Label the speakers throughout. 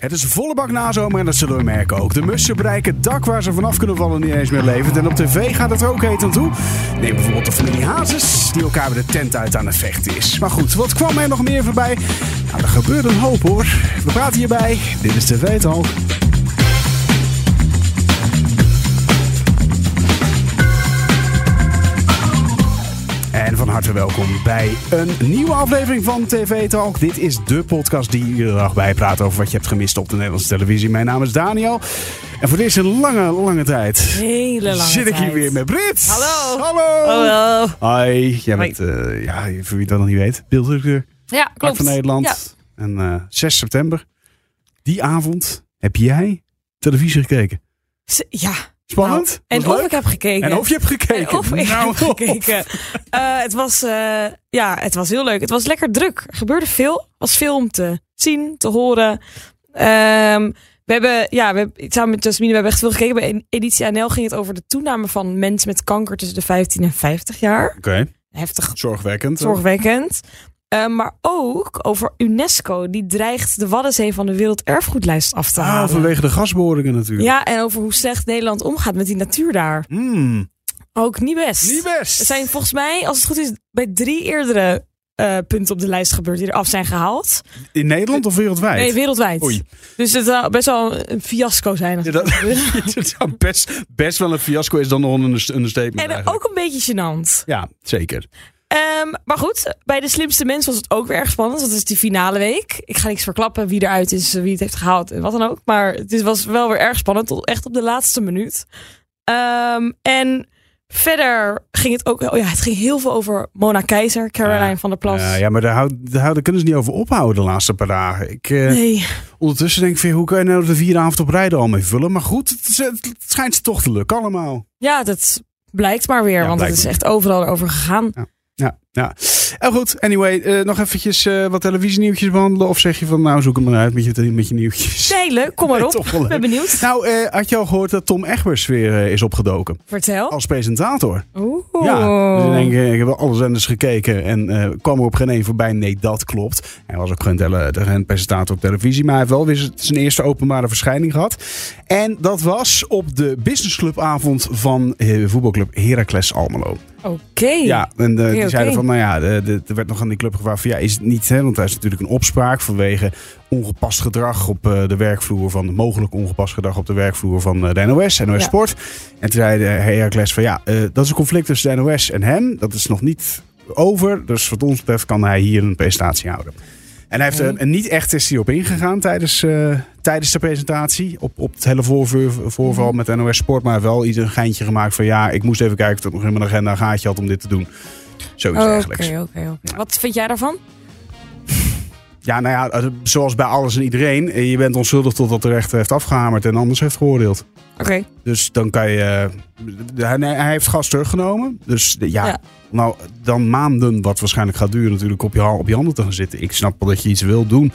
Speaker 1: Het is volle bak nazomer en dat zullen we merken ook. De mussen bereiken het dak waar ze vanaf kunnen vallen niet eens meer levend. En op tv gaat het er ook heet aan toe. Neem bijvoorbeeld de familie Hazes, die elkaar weer de tent uit aan het vechten is. Maar goed, wat kwam er nog meer voorbij? Nou, er gebeurt een hoop hoor. We praten hierbij. Dit is TV Talk. En van harte welkom bij een nieuwe aflevering van TV Talk. Dit is de podcast die iedere dag bijpraat over wat je hebt gemist op de Nederlandse televisie. Mijn naam is Daniel. En voor deze lange, lange tijd
Speaker 2: Hele lange
Speaker 1: zit ik hier
Speaker 2: tijd. Oh,
Speaker 1: weer met Brit.
Speaker 2: Hallo.
Speaker 1: Hallo.
Speaker 2: Hallo.
Speaker 1: Hoi. Jij
Speaker 2: Hoi.
Speaker 1: bent, eh, ja, voor wie dat nog niet weet, beeldhouwer
Speaker 2: Ja, klopt.
Speaker 1: van Nederland.
Speaker 2: Ja.
Speaker 1: En eh, 6 september, die avond, heb jij televisie gekeken.
Speaker 2: S- Ja.
Speaker 1: Spannend.
Speaker 2: Nou,
Speaker 1: Was
Speaker 2: en
Speaker 1: leuk.
Speaker 2: of ik heb gekeken.
Speaker 1: En of je hebt gekeken.
Speaker 2: En of ik
Speaker 1: Nou,
Speaker 2: heb gekeken. Eh, het, was, eh, ja, het was heel leuk. Het was lekker druk. Er gebeurde veel. Er was veel om te zien, te horen. Ehm, we hebben, ja, we hebben, samen met Jasmine, we hebben echt veel gekeken. Bij Editie NL ging het over de toename van mensen met kanker tussen de 15 en 50 jaar.
Speaker 1: Oké,
Speaker 2: Heftig
Speaker 1: zorgwekkend.
Speaker 2: zorgwekkend. Eh, maar ook over UNESCO. Die dreigt de Waddenzee van de Werelderfgoedlijst af te
Speaker 1: Ah,
Speaker 2: halen.
Speaker 1: vanwege de gasboringen natuurlijk.
Speaker 2: Ja, en over hoe slecht Nederland omgaat met die natuur daar.
Speaker 1: Hmm,
Speaker 2: Ook niet best.
Speaker 1: niet
Speaker 2: Er
Speaker 1: best.
Speaker 2: zijn volgens mij, als het goed is, bij drie eerdere eh, punten op de lijst gebeurd die eraf zijn gehaald.
Speaker 1: In Nederland of wereldwijd?
Speaker 2: Nee, wereldwijd.
Speaker 1: Oei.
Speaker 2: Dus het zou best wel een fiasco zijn. als
Speaker 1: Ja,
Speaker 2: het
Speaker 1: dat,
Speaker 2: gebeurt.
Speaker 1: dat zou best, best wel een fiasco is dan nog een under- understatement
Speaker 2: en
Speaker 1: eigenlijk.
Speaker 2: ook een beetje gênant.
Speaker 1: Ja, zeker.
Speaker 2: Ehm, maar goed, bij de slimste mens was het ook weer erg spannend. Want het is die finale week. Ik ga niks verklappen wie eruit is, wie het heeft gehaald en wat dan ook. Maar het is- was wel weer erg spannend, tot echt op de laatste minuut. Ehm, en verder ging het ook... Oh ja, het ging heel veel over Mona Keizer, Caroline
Speaker 1: Ja.
Speaker 2: van der Plas.
Speaker 1: Ja, ja, maar daar, houd, daar, houden- kunnen ze niet over ophouden de laatste paar dagen. Ik, eh,
Speaker 2: Nee,
Speaker 1: Ondertussen denk ik, van, hoe kan je nou de vierde avond op rijden al mee vullen? Maar goed, het, is- het schijnt ze toch te lukken allemaal.
Speaker 2: ja, dat blijkt maar weer.
Speaker 1: Ja,
Speaker 2: want het
Speaker 1: blijkt
Speaker 2: is
Speaker 1: maar.
Speaker 2: echt overal over gegaan.
Speaker 1: Ja, ja. En goed, anyway, eh, nog eventjes eh, wat televisienieuwtjes behandelen. Of zeg je van, nou zoek hem maar uit met je, met je nieuwtjes.
Speaker 2: Nee, leuk. Kom maar
Speaker 1: Nee,
Speaker 2: op.
Speaker 1: toch wel leuk.
Speaker 2: Ik ben benieuwd.
Speaker 1: Nou, eh, had je al gehoord dat Tom Egbers weer eh, is opgedoken?
Speaker 2: Oh. Vertel.
Speaker 1: Als presentator.
Speaker 2: Oeh.
Speaker 1: Oh. Ja,
Speaker 2: Oh.
Speaker 1: dus ik denk, eh, ik heb wel alle zenders gekeken en eh, kwam er op geen één voorbij. Nee, dat klopt. Hij was ook geen, tele- geen presentator op televisie, maar hij heeft wel weer z- zijn eerste openbare verschijning gehad. En dat was op de businessclubavond van eh, voetbalclub Heracles Almelo.
Speaker 2: Oké.
Speaker 1: Ja, en eh, die
Speaker 2: oké.
Speaker 1: zeiden van, nou ja, de- de- er werd nog aan die club gevraagd van, ja, is het niet, hè? want daar is natuurlijk een opspraak vanwege ongepast gedrag op eh, de werkvloer van, mogelijk ongepast gedrag op de werkvloer van eh, de NOS, NOS
Speaker 2: Ja.
Speaker 1: Sport. En toen zei de Heracles van, ja, eh, dat is een conflict tussen de NOS en hem, dat is nog niet over, dus wat ons betreft kan hij hier een presentatie houden. En hij heeft er
Speaker 2: Oké.
Speaker 1: en niet echt is hierop ingegaan tijdens, eh, tijdens de presentatie. Op, op het hele voorvuur- voorval
Speaker 2: Mhm.
Speaker 1: met NOS Sport. Maar wel iets een geintje gemaakt van ja, ik moest even kijken of ik nog in mijn agenda een gaatje had om dit te doen. Zoiets dergelijks.
Speaker 2: Oh, Oké, oké, oké. Wat vind jij daarvan?
Speaker 1: Ja, nou ja, eh, zoals bij alles en iedereen. eh, Je bent onschuldig totdat de rechter heeft afgehamerd en anders heeft geoordeeld.
Speaker 2: Oké.
Speaker 1: Dus dan kan je... eh, hij, hij heeft gas teruggenomen. Dus eh, ja,
Speaker 2: Ja.
Speaker 1: nou dan maanden, wat waarschijnlijk gaat duren natuurlijk, op je, ha- op je handen te gaan zitten. Ik snap wel dat je iets wil doen.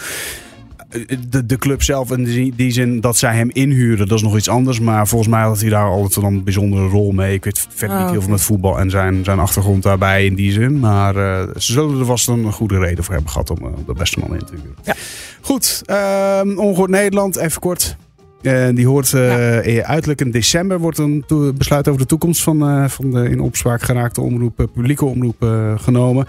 Speaker 1: Eh, De, de club zelf, in die die zin dat zij hem inhuren, dat is nog iets anders. Maar volgens mij had hij daar altijd wel een bijzondere rol mee. Ik weet verder
Speaker 2: Ah,
Speaker 1: niet heel veel
Speaker 2: oké.
Speaker 1: met voetbal en zijn, zijn achtergrond daarbij in die zin. Maar eh, ze zullen er vast een goede reden voor hebben gehad om eh, de beste man in te huren.
Speaker 2: Ja.
Speaker 1: Goed, ehm Ongehoord Nederland, even kort. Eh, die hoort eh, uiterlijk in december wordt een to- besluit over de toekomst van, eh, van de in opspraak geraakte omroep, eh, publieke omroep eh, genomen.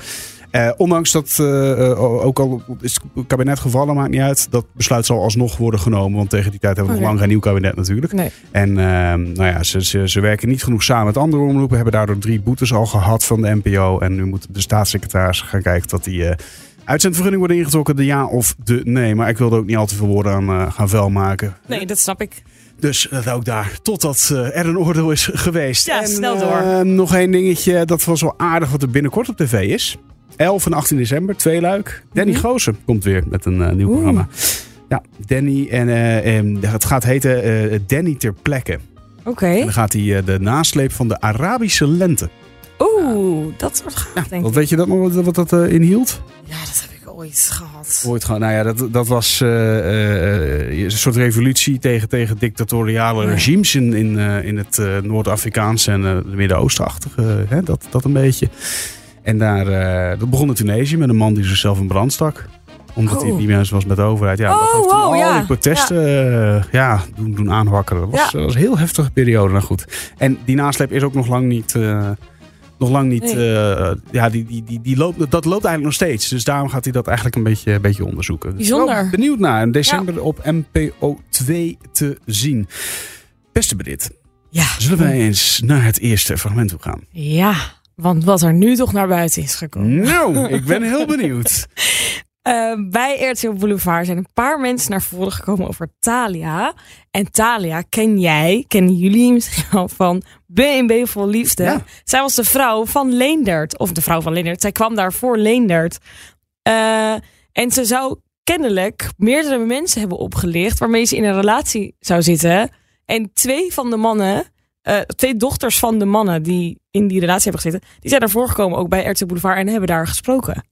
Speaker 1: Eh, ondanks dat, eh, eh, ook al is het kabinet gevallen, maakt niet uit. Dat besluit zal alsnog worden genomen. Want tegen die tijd hebben we
Speaker 2: Oké.
Speaker 1: nog lang geen nieuw kabinet natuurlijk.
Speaker 2: Nee.
Speaker 1: En ehm, nou ja, ze, ze, ze werken niet genoeg samen met andere omroepen. Hebben daardoor drie boetes al gehad van de NPO. En nu moet de staatssecretaris gaan kijken dat die eh, uitzendvergunning wordt ingetrokken. De ja of de nee. Maar ik wilde ook niet al te veel woorden aan eh, gaan vuil maken.
Speaker 2: Nee, dat snap ik.
Speaker 1: Dus dat ook daar. Totdat eh, er een oordeel is geweest.
Speaker 2: Ja,
Speaker 1: en,
Speaker 2: snel door.
Speaker 1: eh, nog één dingetje. Dat was wel aardig wat er binnenkort op tv is. 11 en 18 december, tweeluik. Danny
Speaker 2: Mhm.
Speaker 1: Goosen komt weer met een eh, nieuw
Speaker 2: Oeh.
Speaker 1: programma. Ja, Danny en eh, em, het gaat heten eh, Danny ter plekke.
Speaker 2: Oké.
Speaker 1: En dan gaat hij eh, de nasleep van de Arabische lente.
Speaker 2: Oeh, dat wordt gaaf, denk
Speaker 1: Wat
Speaker 2: ik.
Speaker 1: weet je dat nog wat, wat dat eh, inhield?
Speaker 2: Ja, dat heb ik ooit gehad.
Speaker 1: Ooit gewoon, nou ja, dat, dat was eh, eh, eh, een soort revolutie tegen, tegen dictatoriale
Speaker 2: Ja.
Speaker 1: regimes in, in, eh, in het eh, Noord-Afrikaanse en eh, het Midden-Oostenachtige. eh, hè, dat, dat een beetje. En daar, eh, dat begon in Tunesië met een man die zichzelf in brand stak. Omdat hij
Speaker 2: Oh.
Speaker 1: het niet meer eens was met de overheid. Ja, dat
Speaker 2: Oh,
Speaker 1: heeft toen
Speaker 2: wow,
Speaker 1: al
Speaker 2: ja.
Speaker 1: die protesten eh, ja, doen, doen aanwakkeren. Dat was,
Speaker 2: Ja.
Speaker 1: dat was een heel heftige periode. Nou goed. En die nasleep is ook nog lang niet... eh, nog lang niet, eh, ja, die, die, die, die loopt, dat loopt eigenlijk nog steeds. Dus daarom gaat hij dat eigenlijk een beetje, een beetje onderzoeken. Dus
Speaker 2: Bijzonder.
Speaker 1: wel benieuwd naar. In december op MPO 2 te zien. Beste Brit,
Speaker 2: Ja.
Speaker 1: zullen wij eens naar het eerste fragment toe gaan?
Speaker 2: Ja, want wat er nu toch naar buiten is gekomen.
Speaker 1: Nou, ik ben heel benieuwd.
Speaker 2: Eh, bij RTL Boulevard zijn een paar mensen naar voren gekomen over Thalia. En Thalia ken jij, kennen jullie misschien al van BNB Vol Liefde.
Speaker 1: Ja.
Speaker 2: Zij was de vrouw van Leendert. Of de vrouw van Leendert. Zij kwam daar voor Leendert. Eh, en ze zou kennelijk meerdere mensen hebben opgelicht waarmee ze in een relatie zou zitten. En twee van de mannen, eh, twee dochters van de mannen die in die relatie hebben gezeten, die zijn daarvoor gekomen ook bij RTL Boulevard en hebben daar gesproken.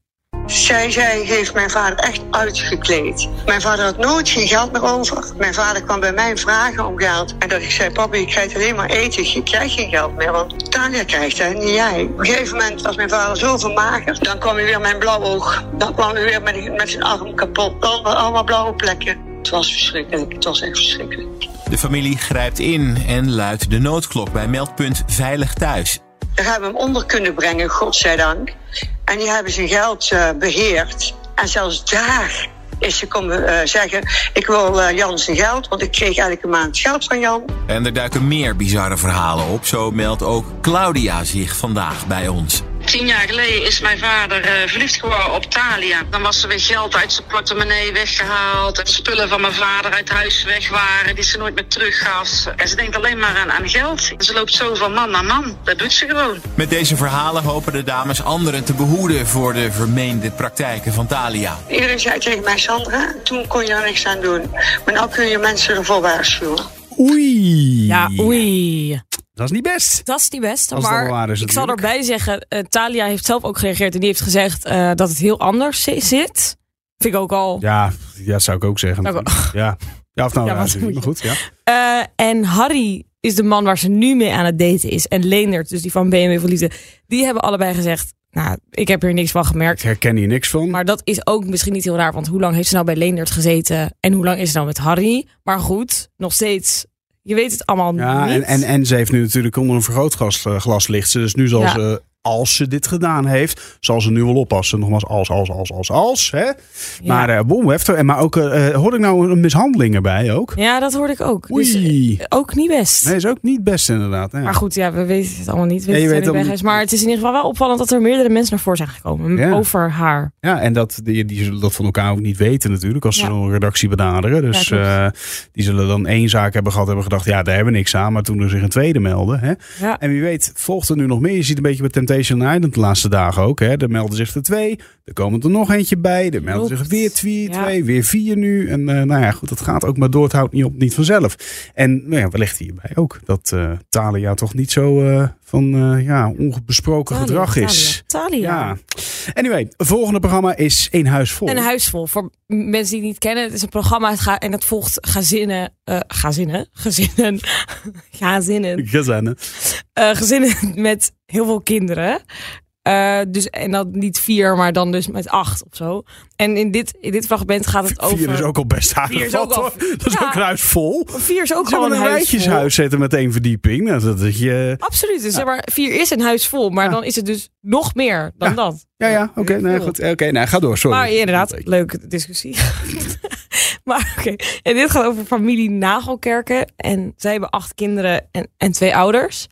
Speaker 3: Zij, zij heeft mijn vader echt uitgekleed. Mijn vader had nooit geen geld meer over. Mijn vader kwam bij mij vragen om geld. En dat ik zei, papa, je krijgt alleen maar eten. Je krijgt geen geld meer, want Tania krijgt het, niet jij. Op een gegeven moment was mijn vader zo vermagerd. Dan kwam hij weer mijn blauw oog. Dan kwam hij weer met, met zijn arm kapot. Allemaal, allemaal blauwe plekken. Het was verschrikkelijk. Het was echt verschrikkelijk.
Speaker 4: De familie grijpt in en luidt de noodklok bij meldpunt Veilig Thuis.
Speaker 3: Daar hebben we hem onder kunnen brengen, godzijdank. En die hebben zijn geld eh, beheerd. En zelfs daar is ze komen eh, zeggen: Ik wil eh, Jan zijn geld, want ik kreeg elke maand geld van Jan.
Speaker 4: En er duiken meer bizarre verhalen op. Zo meldt ook Claudia zich vandaag bij ons.
Speaker 5: Tien jaar geleden is mijn vader eh, verliefd geworden op Thalia. Dan was er weer geld uit zijn portemonnee weggehaald. De spullen van mijn vader uit huis weg waren, die ze nooit meer teruggaf. En ze denkt alleen maar aan, aan geld. Ze loopt zo van man naar man. Dat doet ze gewoon.
Speaker 4: Met deze verhalen hopen de dames anderen te behoeden voor de vermeende praktijken van Thalia.
Speaker 3: Iedereen zei tegen mij: Sandra, toen kon je er niks aan doen. Maar nu kun je mensen ervoor waarschuwen.
Speaker 1: Oei.
Speaker 2: Ja, oei.
Speaker 1: Dat is niet best.
Speaker 2: Dat is niet best.
Speaker 1: Als het
Speaker 2: maar
Speaker 1: allemaal waar is
Speaker 2: ik zal
Speaker 1: natuurlijk.
Speaker 2: erbij zeggen, eh, Thalia heeft zelf ook gereageerd. En die heeft gezegd eh, dat het heel anders zi- zit. Vind ik ook al.
Speaker 1: Ja, ja, dat zou ik ook zeggen.
Speaker 2: Nou,
Speaker 1: Ja. Ja, of nou,
Speaker 2: Ja,
Speaker 1: ja,
Speaker 2: wat
Speaker 1: is
Speaker 2: moet
Speaker 1: niet, maar
Speaker 2: je-
Speaker 1: goed. Ja.
Speaker 2: Eh, en Harry is de man waar ze nu mee aan het daten is. En Leendert, dus die van BMW voor Liefde. Die hebben allebei gezegd, nou, ik heb hier niks van
Speaker 1: Ik
Speaker 2: gemerkt.
Speaker 1: herken hier niks van.
Speaker 2: Maar dat is ook misschien niet heel raar. Want hoe lang heeft ze nou bij Leendert gezeten? En hoe lang is ze nou met Harry? Maar goed, nog steeds. Je weet het allemaal
Speaker 1: ja,
Speaker 2: niet.
Speaker 1: en, en, en ze heeft nu natuurlijk onder een vergrootglas eh, glas ligt ze. Dus nu zal
Speaker 2: Ja.
Speaker 1: ze, als ze dit gedaan heeft, zal ze nu wel oppassen. Nogmaals, als, als, als, als, als. Hè? Maar eh boem, heftig. En maar ook, eh, eh, hoor ik nou een mishandeling erbij ook?
Speaker 2: ja, dat hoorde ik ook. Dus, eh,
Speaker 1: Oei.
Speaker 2: ook niet best.
Speaker 1: Nee, is ook niet best inderdaad. Ja.
Speaker 2: Maar goed, ja, we weten het allemaal niet. We
Speaker 1: Ja, je
Speaker 2: weten het
Speaker 1: weet
Speaker 2: niet
Speaker 1: het
Speaker 2: bij Maar het is in ieder geval wel opvallend dat er meerdere mensen naar voren zijn gekomen
Speaker 1: Ja.
Speaker 2: over haar.
Speaker 1: Ja, en dat, die, die zullen dat van elkaar ook niet weten natuurlijk als ze
Speaker 2: Ja.
Speaker 1: zo'n redactie benaderen. Dus
Speaker 2: klopt.
Speaker 1: eh, die zullen dan één zaak hebben gehad, hebben gedacht, ja, daar hebben we niks aan. Maar toen er zich een tweede meldde. Hè?
Speaker 2: Ja.
Speaker 1: En wie weet volgt er nu nog meer. Je ziet een beetje bij Temptation Island de laatste dagen ook. Hè? Er melden zich er twee, er komen er nog eentje bij. Er melden
Speaker 2: Klopt.
Speaker 1: zich weer twee,
Speaker 2: Ja.
Speaker 1: twee, weer vier nu. En eh, nou ja, goed, dat gaat ook maar door. Het houdt niet op, niet vanzelf. En nou ja, wellicht hierbij ook dat eh Thalia toch niet zo eh, van eh, ja, onbesproken gedrag
Speaker 2: Thalia,
Speaker 1: is.
Speaker 2: Thalia.
Speaker 1: Ja. Anyway, het volgende programma is Eén Huis Vol.
Speaker 2: Een huisvol. Voor m- mensen die het niet kennen, het is een programma het ga- en dat volgt gezinnen. eh, gezinnen? Gezinnen. gezinnen.
Speaker 1: Gezinnen.
Speaker 2: eh, gezinnen met heel veel kinderen. Eh, dus, en dan niet vier, maar dan dus met acht of zo. En in dit, in dit fragment gaat het over.
Speaker 1: Vier is ook al best aardig.
Speaker 2: Vier is
Speaker 1: wat,
Speaker 2: ook al-
Speaker 1: hoor. Dat is
Speaker 2: Ja.
Speaker 1: ook een huis vol.
Speaker 2: Vier is ook
Speaker 1: Ze
Speaker 2: gewoon
Speaker 1: willen
Speaker 2: een
Speaker 1: een
Speaker 2: huisvol.
Speaker 1: rijtjeshuis zetten met één verdieping. Nou, dat, dat je...
Speaker 2: Absoluut. Dus zeg maar, vier is een huis vol, maar
Speaker 1: Ja.
Speaker 2: dan is het dus nog meer dan
Speaker 1: Ja.
Speaker 2: dat.
Speaker 1: Ja, ja, oké. nou, goed. Oké, nou, ga door. Sorry.
Speaker 2: Maar inderdaad, leuke discussie. maar oké, en dit gaat over familie Nagelkerken. En zij hebben acht kinderen en, en twee ouders.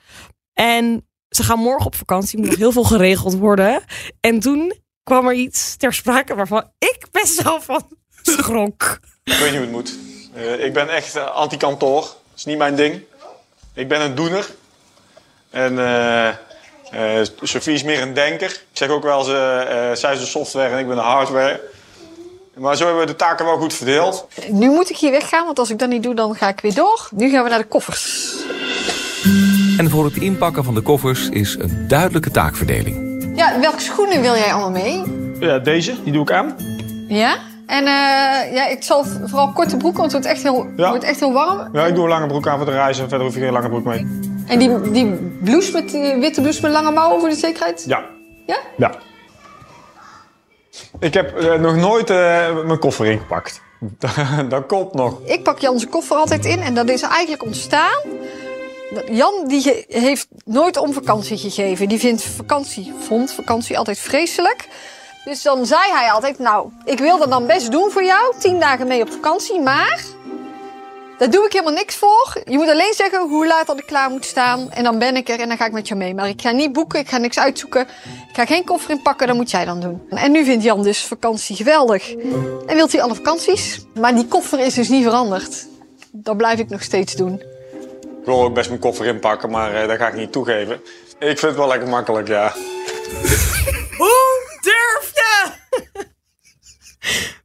Speaker 2: En ze gaan morgen op vakantie, moet nog heel veel geregeld worden. En toen kwam er iets ter sprake waarvan ik best wel van schrok.
Speaker 6: Ik weet niet hoe het moet. Eh, ik ben echt eh, anti-kantoor. Dat is niet mijn ding. Ik ben een doener. En eh eh, Sophie is meer een denker. Ik zeg ook wel, ze, eh, zij is de software en ik ben de hardware. Maar zo hebben we de taken wel goed verdeeld.
Speaker 7: Nu moet ik hier weggaan, want als ik dat niet doe, dan ga ik weer door. Nu gaan we naar de koffers.
Speaker 8: En voor het inpakken van de koffers is een duidelijke taakverdeling.
Speaker 7: Ja, welke schoenen wil jij allemaal mee?
Speaker 6: Ja, deze, die doe ik aan.
Speaker 7: Ja? En eh, ja, ik zal v- vooral korte broeken, want het wordt echt heel,
Speaker 6: Ja.
Speaker 7: wordt echt heel warm.
Speaker 6: Ja, ik doe een lange broek aan voor de reis en verder hoef je geen lange broek mee.
Speaker 7: En die, die blouse met die witte blouse met lange mouwen voor de zekerheid?
Speaker 6: Ja.
Speaker 7: Ja?
Speaker 6: Ja. Ik heb eh, nog nooit eh, mijn koffer ingepakt. dat komt nog.
Speaker 7: Ik pak Jan's koffer altijd in en dat is eigenlijk ontstaan. dat- Jan die ge- heeft nooit om vakantie gegeven. Die vindt vakantie, vond vakantie altijd vreselijk. Dus dan zei hij altijd, nou, ik wil dat dan best doen voor jou. Tien dagen mee op vakantie, maar... Daar doe ik helemaal niks voor. Je moet alleen zeggen hoe laat dat ik klaar moet staan. En dan ben ik er en dan ga ik met je mee. Maar ik ga niet boeken, ik ga niks uitzoeken. Ik ga geen koffer inpakken, dat moet jij dan doen. En nu vindt Jan dus vakantie geweldig. En wilt hij alle vakanties? Maar die koffer is dus niet veranderd. Dat blijf ik nog steeds doen.
Speaker 6: Ik wil ook best mijn koffer inpakken, maar eh, dat ga ik niet toegeven. Ik vind het wel lekker makkelijk, ja.
Speaker 2: Hoe durf je?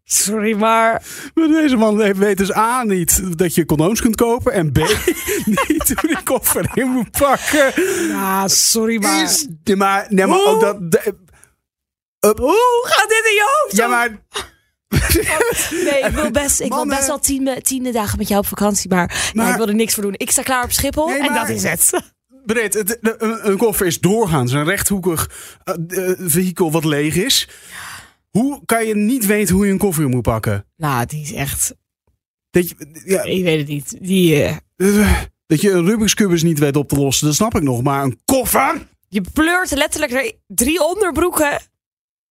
Speaker 2: Sorry, maar
Speaker 1: Maar deze man heeft- weet dus A, niet dat je condooms kunt kopen. En B, niet hoe die koffer in moet pakken.
Speaker 2: Ja, Ah, sorry, maar.
Speaker 1: Is, Ja, maar, nee, maar ook dat... de- Up.
Speaker 2: Hoe gaat dit in je hoofd?
Speaker 1: Ja, maar...
Speaker 2: Nee, ik wil best, ik wil
Speaker 1: Mannen.
Speaker 2: best wel tien, tiende dagen met jou op vakantie, maar,
Speaker 1: Maar-
Speaker 2: ja, ik wil er niks voor doen. Ik sta klaar op Schiphol
Speaker 1: Nee,
Speaker 2: en
Speaker 1: maar-
Speaker 2: dat is het.
Speaker 1: Breed, het, de- een, een koffer is doorgaans een rechthoekig eh, eh, vehikel wat leeg is. Hoe kan je niet weten hoe je een koffer moet pakken?
Speaker 2: Nou, die is echt.
Speaker 1: Dat je, ja,
Speaker 2: Ik weet het niet. Die, eh,
Speaker 1: eh, dat je een Rubik's Cubus niet weet op te lossen, dat snap ik nog. Maar een koffer?
Speaker 2: je pleurt letterlijk er drie onderbroeken.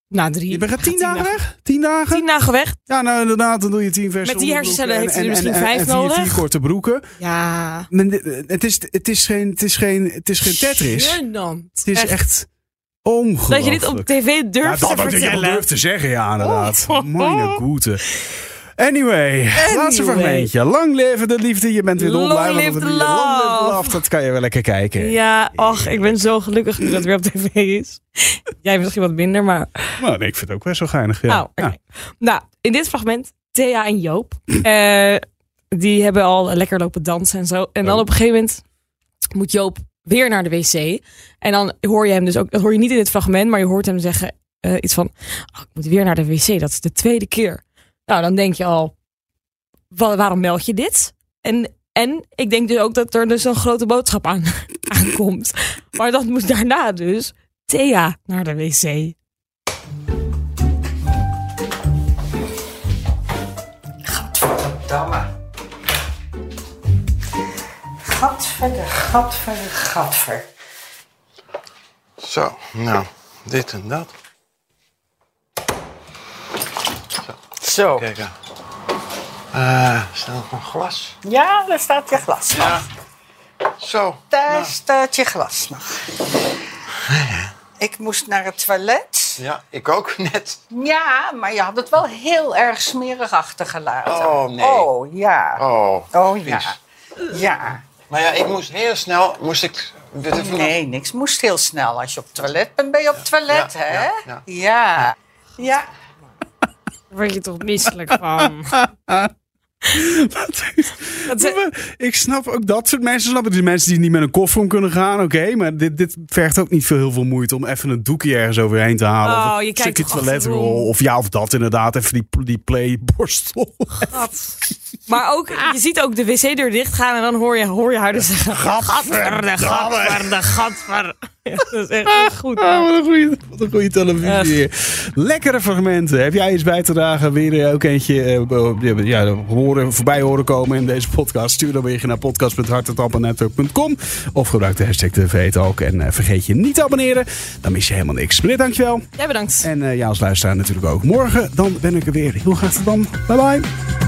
Speaker 2: Nou, drie.
Speaker 1: Je bent gaat tien dagen
Speaker 2: weg?
Speaker 1: weg? Tien dagen?
Speaker 2: Tien dagen weg.
Speaker 1: Ja, nou inderdaad, dan doe je tien versen
Speaker 2: Met die hersencellen heeft hij er misschien vijf
Speaker 1: en, vier,
Speaker 2: nodig.
Speaker 1: vier korte broeken.
Speaker 2: Ja.
Speaker 1: Men, eh, het, is, het, is geen, het, is geen, het is geen Tetris.
Speaker 2: Gênant.
Speaker 1: Het is
Speaker 2: Echt.
Speaker 1: echt ongelooflijk.
Speaker 2: Dat je dit op tv
Speaker 1: Ja,
Speaker 2: durft
Speaker 1: dat
Speaker 2: te
Speaker 1: wat ik wel
Speaker 2: vertellen.
Speaker 1: durf te zeggen, ja, inderdaad.
Speaker 2: Oh.
Speaker 1: Meine goede. Anyway, laatste
Speaker 2: Anyway.
Speaker 1: fragmentje. Lang leven de liefde. Je bent weer
Speaker 2: Long
Speaker 1: dolblij. want
Speaker 2: live
Speaker 1: dat
Speaker 2: the
Speaker 1: liedje Long live the
Speaker 2: love.
Speaker 1: love. Dat kan je wel lekker kijken.
Speaker 2: Ja, och, ik ben zo gelukkig nu dat het weer op tv is. Jij misschien wat minder, maar...
Speaker 1: Nou, nee, ik vind het ook best wel geinig. Ja.
Speaker 2: Oh, oké. Nou, in dit fragment, Thea en Joop. eh, die hebben al lekker lopen dansen en zo. En
Speaker 1: Oh.
Speaker 2: dan op een gegeven moment moet Joop weer naar de wc. En dan hoor je hem dus ook... Dat hoor je niet in dit fragment, maar je hoort hem zeggen eh, iets van... "Oh, ik moet weer naar de wc, dat is de tweede keer. Nou, dan denk je al... "Wa- waarom meld je dit? En, en ik denk dus ook dat er dus een grote boodschap aan, aankomt. Maar dat moet daarna dus Thea naar de wc.
Speaker 9: Gadverdamme. Gadverder, gadverder, gadver.
Speaker 10: Zo, nou, dit en dat.
Speaker 9: Zo.
Speaker 10: Kijk aan. Eh, staat nog een glas?
Speaker 9: Ja, daar staat je glas nog.
Speaker 10: Zo. nou.
Speaker 9: Daar staat je glas nog. Ik moest naar het toilet.
Speaker 10: Ja, ik ook net.
Speaker 9: Ja, maar je had het wel heel erg smerig achtergelaten.
Speaker 10: Oh, nee.
Speaker 9: Oh, ja.
Speaker 10: Oh,
Speaker 9: Oh,
Speaker 10: vies.
Speaker 9: ja. Ja.
Speaker 10: Maar ja, ik moest heel snel, moest ik... dit even nog-
Speaker 9: Nee, niks moest heel snel. Als je op het toilet bent, ben je op het toilet,
Speaker 10: Ja,
Speaker 9: hè?
Speaker 10: ja, ja.
Speaker 9: ja. ja.
Speaker 2: Daar word je toch misselijk van.
Speaker 1: Wat is- Maar Ik snap ook dat soort mensen. Snap ik. Die mensen die niet met een koffer om kunnen gaan, oké. maar dit, dit vergt ook niet veel, heel veel moeite om even een doekje ergens overheen te halen.
Speaker 2: Oh,
Speaker 1: of
Speaker 2: je
Speaker 1: een
Speaker 2: kijkt
Speaker 1: stukje
Speaker 2: toch
Speaker 1: toiletrol.
Speaker 2: achterom.
Speaker 1: Of ja, of dat inderdaad. Even die, die playborstel.
Speaker 2: Maar ook, je ziet ook de wc-deur dichtgaan en dan hoor je, hoor je haar dus zeggen... Gadverde, gadverde, gadver. Ja, dat is echt niet goed.
Speaker 1: Ah, wat een goede, wat een goede
Speaker 2: Echt.
Speaker 1: televisie. hier. Lekkere fragmenten. Heb jij iets bij te dragen? Weer eh, ook eentje eh, bo- ja, horen, voorbij horen komen in deze podcast? Stuur dan weer naar podcast.hartentampenetwerk.com of gebruik de hashtag TVTalk. En eh, vergeet je niet te abonneren. Dan mis je helemaal niks. Brit, dankjewel.
Speaker 2: Jij bedankt.
Speaker 1: En eh ja, als luisteraar natuurlijk ook morgen. Dan ben ik er weer. Heel graag tot dan. Bye bye.